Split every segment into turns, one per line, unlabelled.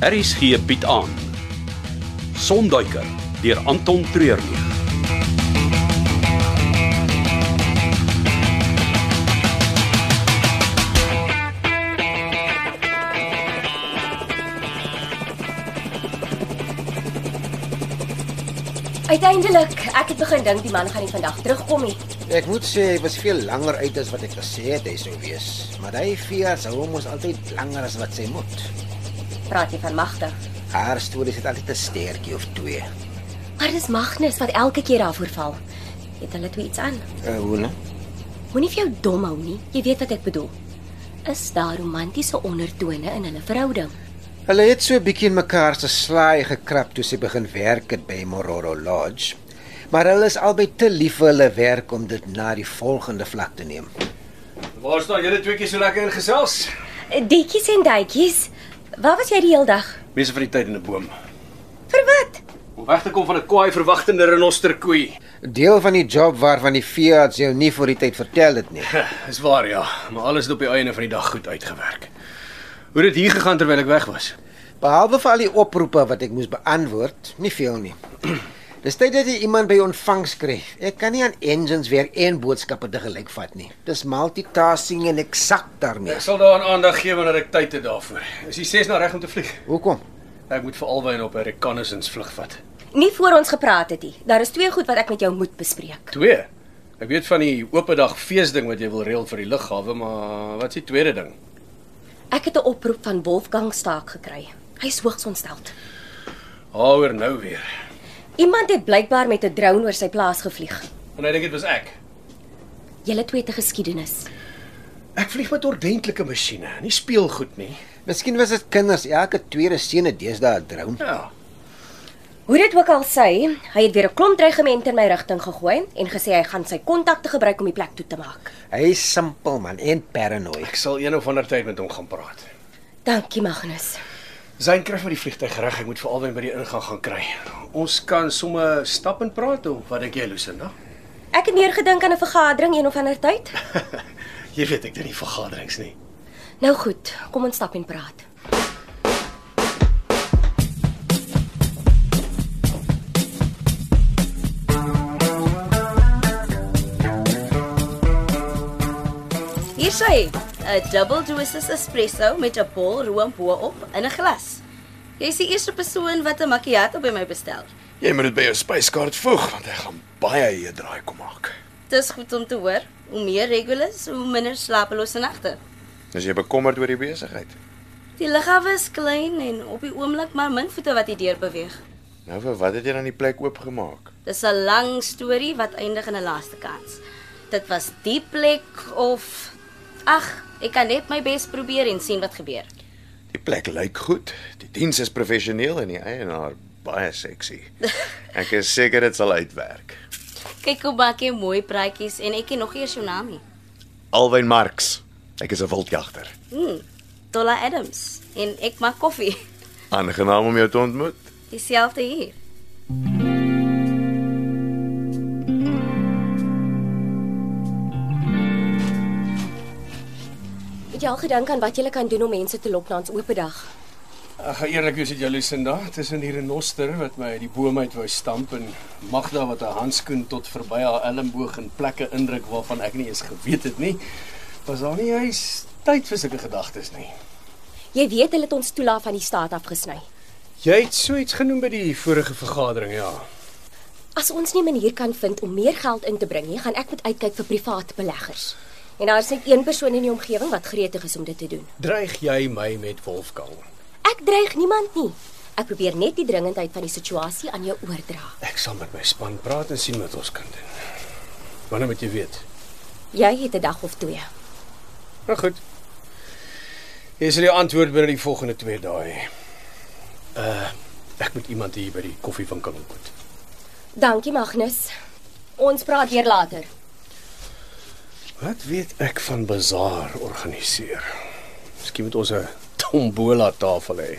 Harris gee bied aan. Sonduiker deur Anton Treurnig.
Uiteindelik, ek het begin dink die man gaan nie vandag terugkom nie.
Ek moet sê ek was veel langer uit as wat ek gesê het hy sou wees, maar hy vier sou mos altyd langer as wat sy moet.
Praat jy van Magda?
Haar stories het altyd 'n sterkie of twee.
Maar dis Magnus wat elke keer daarvoor val. Het hulle twee iets aan?
Uh, hoe nou?
Moenie vir jou dom hou nie. Jy weet wat ek bedoel. Is daar romantiese ondertone in hulle verhouding?
Hulle het so 'n bietjie in mekaar se slaai gekrap toe sy begin werk het by Mororo Lodge. Maar hulle is albei te lief vir hulle werk om dit na die volgende vlak te neem.
Waar staan julle tweeetjies so lekker in gesels?
Detjies Eh, en duitjies. Waar was jy die hele dag?
Mense van die tyd in 'n boom.
Vir wat?
Om weg te kom van 'n kwaai verwagtende renosterkoei.
Deel van die job waarvan die veearts jou nie voor die tyd vertel het nie.
Dis waar ja, maar alles het op die einde van die dag goed uitgewerk. Hoe het dit hier gegaan terwyl ek weg was?
Behalwe vir al die oproepe wat ek moes beantwoord, nie veel nie. Dis tyd dat jy iemand by ontvangs kry. Ek kan nie aan engines weer een boodskappe te gelyk vat nie. Dis multitasking en ek sak daarmee.
Ek sal daaraan aandag gee wanneer ek tyd het daarvoor. Is die 6 na reg om te vlieg?
Hoekom?
Ek moet vir albei op 'n reconnaissance vlug vat.
Nie voor ons gepraat het nie. Daar is twee goed wat ek met jou moet bespreek.
2. Ek weet van die oopdag feesding wat jy wil reël vir die lughawe, maar wat is die tweede ding?
Ek het 'n oproep van Wolfgang Staak gekry. Hy is hoogs ontsteld.
Haaroor nou weer.
Iemand het blykbaar met 'n drone oor sy plaas gevlieg.
En hy dink dit was ek.
Julle twee het 'n geskiedenis.
Ek vlieg met ordentlike masjiene, nie speelgoed nie.
Miskien was dit kinders. Elke tweede seun het deesdae 'n drone.
Ja.
Hoe dit ook al sê, hy het weer 'n klomp dreigemente in my rigting gegooi en gesê hy gaan sy kontakte gebruik om die plek toe te maak.
Hy's simpel man en paranoid.
Ek sal een of ander tyd met hom gaan praat.
Dankie Magnus.
Zain kry vir die vliegtyg reg. Ek moet vir albei by die ingang gaan kry. Ons kan sommer stap en praat of wat dink jy Lucinda?
Ek het meer gedink aan 'n vergadering een of ander tyd.
jy weet ek doen nie vergaderings nie.
Nou goed, kom ons stap en praat.
Hier sê hy, 'n double dosis espresso met 'n bol room bo-op in 'n glas. Jy is die eerste persoon wat 'n macchiato by my bestel.
Jy moet dit by jou spyskaart voeg want ek gaan baie hier draai kom maak.
Dis goed om te hoor. Hoe meer regulars, hoe minder slapelose nagte.
As jy bekommerd oor die besigheid.
Die liggawe is klein en op die oomblik maar min voete wat hier deur beweeg.
Nou vir wat het jy dan die plek oopgemaak?
Dis 'n lang storie wat eindig in 'n laaste kans. Dit was die plek of ag, ek kan net my bes probeer en sien wat gebeur.
Die plek lyk goed. Die diens is professioneel en die eienaar baie seksie. Ek is seker dit sal uitwerk.
Kyk hoe maak jy mooi praatjies en ek ken nog eers jou naam nie.
Alwyn Marx. Ek is 'n wildjagter.
Mm, Dolla Adams en ek maak koffie.
Aangenaam om jou te ontmoet.
Dieselfde hier.
Het jy al gedink aan wat jy kan doen om mense te lok na ons oop dag?
Ek gaan eerlik wees met jou Lucinda, tussen die renoster wat my uit die boom uit wou stamp en Magda wat haar handskoen tot verby haar elmboog in plekke indruk waarvan ek nie eens geweet het nie. Was daar nie eens tyd vir sulke gedagtes nie.
Jy weet hulle het ons toelaat van die staat afgesny.
Jy het so iets genoem by die vorige vergadering, ja.
As ons nie 'n manier kan vind om meer geld in te bring nie, gaan ek moet uitkyk vir privaat beleggers. En daar is net een persoon in die omgewing wat gretig is om dit te doen.
Dreig jy my met Wolfgang?
Ek dreig niemand nie. Ek probeer net die dringendheid van die situasie aan jou oordra.
Ek sal met my span praat en sien wat ons kan doen. Wanneer moet jy weet?
Jy het 'n dag of twee.
Nou goed. Jy sal jou antwoord binne die volgende 2 dae hê. Uh ek moet iemand hier by die koffiewinkel ontmoet.
Dankie Magnus. Ons praat weer later.
Wat weet ek van bazaar organiseer? Miskien moet ons 'n tombola tafel hê.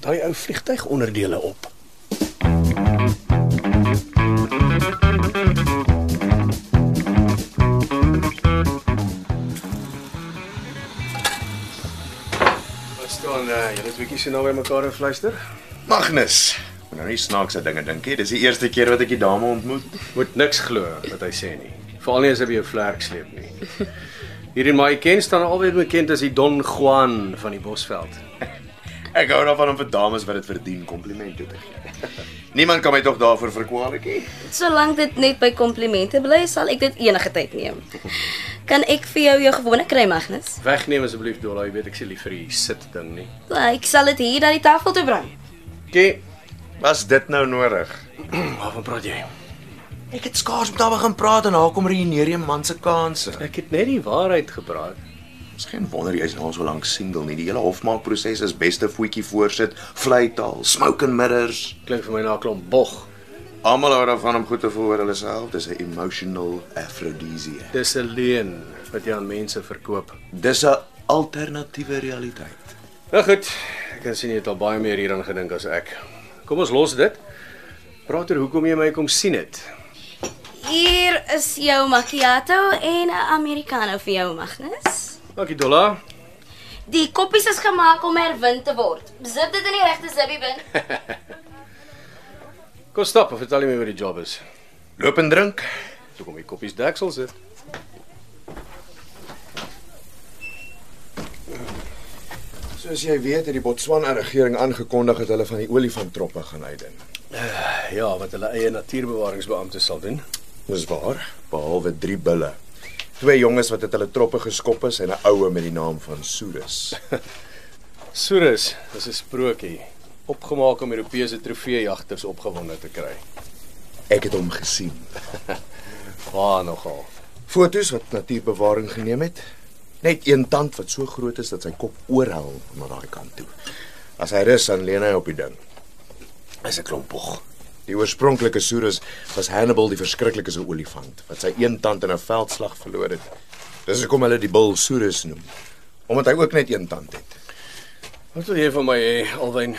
Daai ou vliegtygonderdele op. Wat staan uh, julle is bietjie so naby mekaar en fluister.
Magnus. Moet nou nie snaakse dinge dink nie. Dis die eerste keer wat ek die dame ontmoet.
Moet niks glo wat hy sê nie. Veral nie as hy by jou vlerk sleep nie. Hierdie my ken staan altyd bekend as die Don Juan van die Bosveld.
Ek hou daarvan om vir dames wat dit verdien komplimente te gee. Niemand kan my tog daarvoor verkwalikie.
Solank dit net by komplimente bly, sal ek dit enige tyd neem. Kan ek vir jou jou gewone kry, Magnus?
Wegneem asseblief Dola, jy weet ek sê lief vir die sit ding nie.
Ek sal dit hier na die tafel toe bring.
Okay,
Was dit nou nodig?
waarvan praat jy?
Ek het skaars met haar begin praat en haar kom reïneer jy man se kanse.
Ek het net die waarheid gepraat.
Dis geen wonder jy's nou al so lank single nie. Die hele hofmaakproses is beste voetjie voorsit, vleitaal, smoke and mirrors.
Klink vir my na 'n klomp bog.
Almal hou daarvan om goed te voel oor hulle self. Dis 'n emotional aphrodisiac.
Dis 'n leuen wat jy aan mense verkoop.
Dis 'n alternatiewe realiteit.
Nou goed, ek kan sien jy het al baie meer hieraan gedink as ek. Kom ons los dit. Praat oor hoekom jy my kom sien het.
Hier is jou macchiato en 'n americano vir jou, Magnus.
Dankie Dola.
Die koppies is gemaak om herwin te word. Zip dit in die regte zippie bin.
Kom stap en vertel my wat die job is.
Loop en drink.
Toe kom die koppies deksel sit.
Soos jy weet, het die Botswana regering aangekondig dat hulle van die olifanttroppe gaan uitdin.
Ja, wat hulle eie natuurbewaringsbeamptes sal doen.
Dis waar, behalwe 3 bulle. Twee jonges wat uit hulle troppe geskop is en 'n oue met die naam van Soerus.
Soerus is 'n sprokie, opgemaak om Europese trofeejagters opgewonde te kry.
Ek het hom gesien.
Waar nogal.
Fotos wat natuurbewaring geneem het. Net een tand wat so groot is dat sy kop oorhel na daai kant toe. As hy rus dan lê hy op die ding. Hy's 'n klompog. Die oorspronklike Soerus was Hannibal die verskriklike se olifant wat sy een tand in 'n veldslag verloor het. Dis hoekom hulle die bul Soerus noem, omdat hy ook net een tand het.
Wat wil jy van my hê, Alwyn?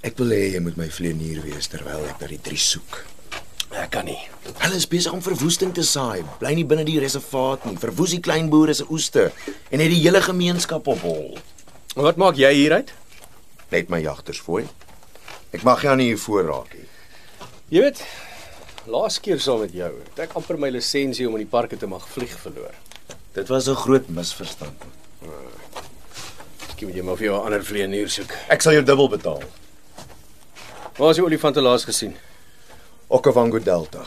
Ek wil hê jy moet my vleenier wees terwyl ek na die drie soek.
Ek kan nie.
Hulle is besig om verwoesting te saai. Bly nie binne die reservaat nie. Verwoes die klein boere se oeste en het die hele gemeenskap op hol.
Wat maak jy hier uit?
Net my jagters fooi. Ek mag jou nie hier voor raak nie.
Jy weet, laas keer saam met jou het ek amper my lisensie om in die parke te mag vlieg verloor.
Dit was 'n groot misverstand.
Miskien moet jy maar vir jou 'n ander vleenier soek.
Ek sal jou dubbel betaal.
Waar is die olifante laas gesien?
Okavango Delta.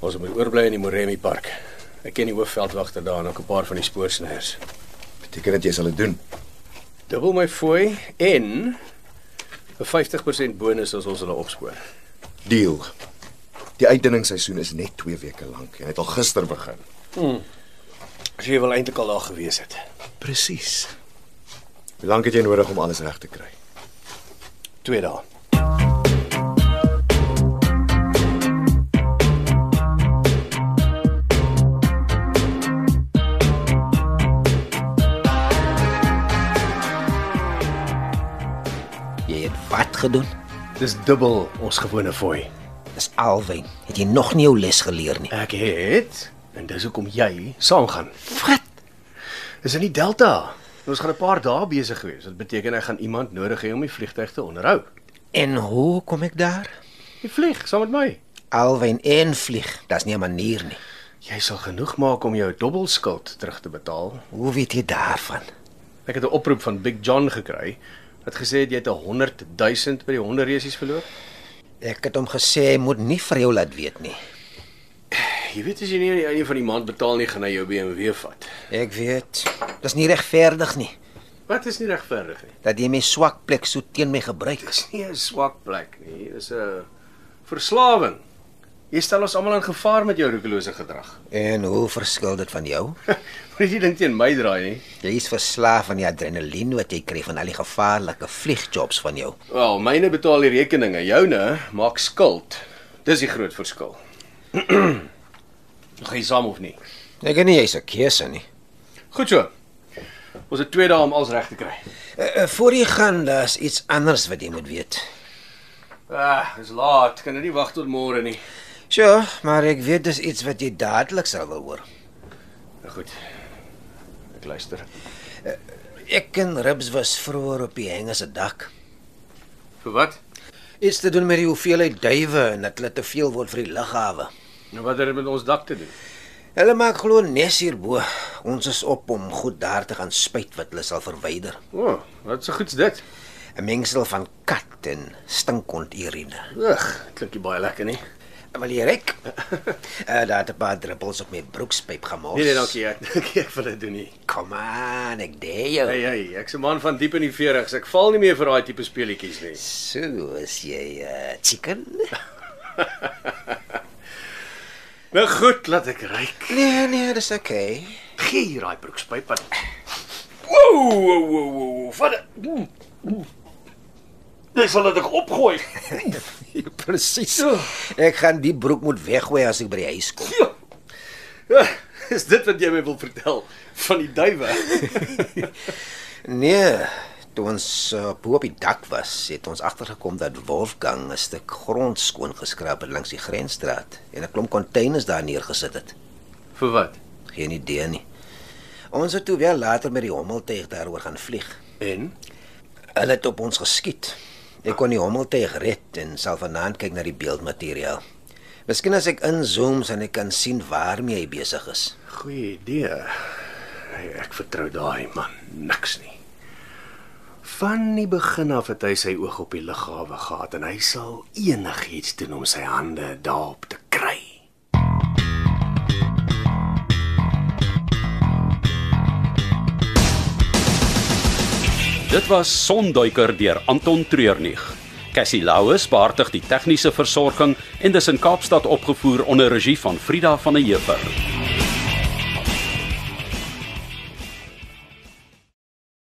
Ons moet oorbly in die Moremi Park. Ek ken die hoofveldwagter daar en ook 'n paar van die spoorsners.
Beteken dit jy sal dit doen?
Dubbel my fooi en 'n 50% bonus as ons hulle opspoor.
Deal. Die uitdinningsseisoen is net 2 weke lank en het al gister begin.
As jy wel eintlik al daar gewees het.
Presies. Hoe lank het jy nodig om alles reg te kry?
2 dae.
Jy het wat gedoen?
Dis dubbel ons gewone fooi.
Dis alwyn. Het jy nog nie jou les geleer nie?
Ek het en dis hoekom jy saam gaan.
Wat?
Is in die Delta. Ons gaan 'n paar dae besig wees. Dit beteken ek gaan iemand nodig hê om die vliegtyg te onderhou.
En hoe kom ek daar?
Jy vlieg saam met my.
Alwyn en vlieg. Dis nie 'n manier nie.
Jy sal genoeg maak om jou dubbelskuld terug te betaal.
Hoe weet jy daarvan?
Ek het 'n oproep van Big John gekry wat gesê het jy het 'n 100 000 by die honderreisies verloor.
Ek het hom gesê hy moet nie vir jou laat weet nie.
Jy weet as jy nie aan die einde van die maand betaal nie, gaan hy jou BMW vat.
Ek weet. Dis nie regverdig nie
Wat is nie regverdig nie.
dat jy my swak plek so teen my gebruik.
Dis nie 'n swak plek nie. Dis 'n verslawing. Jy stel ons almal in gevaar met jou roekelose gedrag.
En hoe verskil dit van jou?
Moet jy dink teen my draai nie.
Jy's verslaaf aan die adrenalien wat jy kry van al die gevaarlike vliegjobs van jou.
Wel, myne betaal die rekeninge, joune maak skuld. Dis die groot verskil. Gaan jy saam of nie?
Ek weet nie jy's 'n keuse nie.
Goed so. Ons het 2 dae om alles reg te kry.
Uh, uh, voor jy gaan, daar's iets anders wat jy moet weet.
Ah, dis laat. Kan dit nie wag tot môre nie.
Sjoe, maar ek weet dis iets wat jy dadelik sal wil hoor.
Nou goed. Ek luister.
Ek en Ribs was vroeër op die hengel se dak.
Vir wat?
Iets te doen met die hoeveelheid duwe en dat hulle te veel word vir die lughawe.
Nou wat het dit met ons dak te doen?
Hulle maak glo nes hierbo. Ons is op om goed daar te gaan spuit wat hulle sal verwyder.
O, oh, wat se goeds dit?
'n Mengsel van kat en stinkond urine.
Ag, klink nie baie lekker nie.
Wil jy rek? uh, daar het 'n paar druppels op my broekspyp gemors.
Nee nee, dankie. Ek dink ek wil dit doen nie.
Kom aan, ek dee jou.
Hey hey, ek's 'n man van diep in die 40s. Ek val nie meer vir daai tipe speletjies nie.
So is jy uh, chicken?
Nou goed, laat ek ryk.
nee nee, dis okay.
Gee hier daai broekspyp aan. Woew, woew, woew, woew. Vat dit. Dis sal dit ek opgooi. Ja,
Presies. Ek gaan die broek moet weggooi as ek by die huis kom.
Ja, Is dit wat jy my wil vertel van die duwe?
Nee, toe ons uh, bo op die dak was, het ons agtergekom dat Wolfgang 'n stuk grond skoon geskraap het langs die grensstraat en 'n klomp containers daar neergesit het.
Vir wat?
Geen idee nie. Ons het toe wel later met die hommeltuig daaroor gaan vlieg.
En
Hulle het op ons geskiet. Ek kon die hommeltuig red en sal vanaand kyk na die beeldmateriaal. Miskien as ek inzoom, sal ek kan sien waarmee hy besig is.
goeie idee. Hey, ek vertrou daai man niks nie. Van die begin af het hy sy oog op die lughawe gehad en hy sal enigiets doen om sy hande daarop te kry.
Dit was Sonduiker deur Anton Treurnig. Cassie Louws beheer tig die tegniese versorging en dis in Kaapstad opgevoer onder regie van Frida van der Heever.